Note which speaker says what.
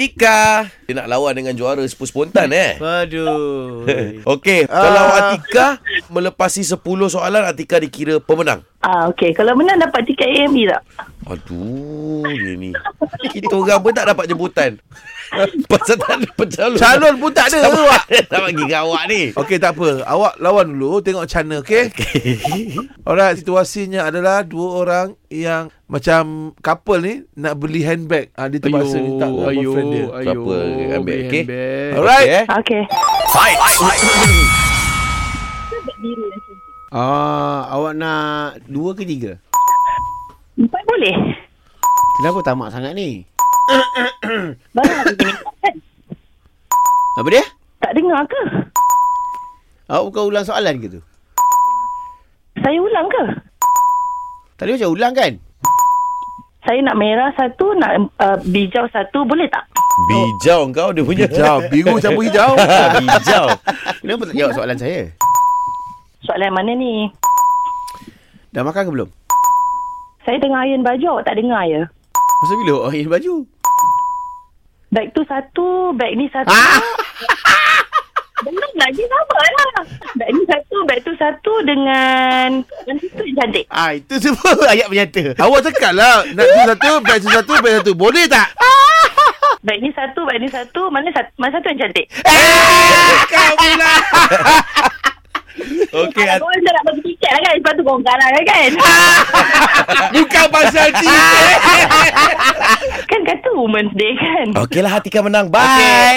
Speaker 1: Atika Dia nak lawan dengan juara sepuluh spontan eh
Speaker 2: Aduh. Ah.
Speaker 1: Okey, uh... kalau Atika melepasi 10 soalan Atika dikira pemenang.
Speaker 3: Ah, okey. Kalau menang dapat tiket AME tak?
Speaker 1: Aduh, dia ni. Kita orang pun tak dapat jemputan. Pasal tak ada pencalon.
Speaker 2: Calon pun tak ada awak.
Speaker 1: tak bagi kat awak ni.
Speaker 2: Okey tak apa. Awak lawan dulu tengok macam mana okey. Alright, situasinya adalah dua orang yang macam couple ni nak beli handbag. Ah dia terpaksa minta dengan boyfriend dia.
Speaker 1: Berapa ambil,
Speaker 2: beli
Speaker 1: okey?
Speaker 2: handbag.
Speaker 1: Alright.
Speaker 2: Alright.
Speaker 1: Okay, eh?
Speaker 3: Okey. Diri macam tu.
Speaker 4: Ah, awak nak dua ke tiga?
Speaker 3: Empat boleh?
Speaker 4: Kenapa tamak sangat ni?
Speaker 3: Barang nak pergi minta kan?
Speaker 4: Apa dia?
Speaker 3: Tak dengar ke?
Speaker 4: Awak bukan ulang soalan ke tu?
Speaker 3: Saya ulang ke?
Speaker 4: Tadi macam ulang kan?
Speaker 3: Saya nak merah satu, nak uh, bijau satu. Boleh tak?
Speaker 1: Bijau kau dia punya.
Speaker 2: Hijau, biru campur hijau.
Speaker 1: Bijau.
Speaker 4: Kenapa tak jawab soalan saya?
Speaker 3: Soalan yang mana ni?
Speaker 4: Dah makan ke belum?
Speaker 3: Saya tengah iron baju. Awak tak dengar ya?
Speaker 4: Masa bila awak iron baju?
Speaker 3: Beg tu satu, beg ni satu.
Speaker 4: Ah!
Speaker 3: Belum lagi sama lah. Beg ni satu, beg tu satu dengan... Yang situ yang cantik.
Speaker 4: Ah, itu semua ayat menyata.
Speaker 2: Awak cakap lah Nak tu satu Bag tu satu Bag satu Boleh tak?
Speaker 3: Beg ni satu, beg ni satu. Mana satu, mana satu yang cantik?
Speaker 1: Okey, At-
Speaker 3: Korang dah nak bagi tiket lah kan. Sebab tu korang kalah lah kan.
Speaker 1: bukan pasal cinta.
Speaker 3: kan kata women's day kan.
Speaker 1: Okeylah Atika menang. Bye.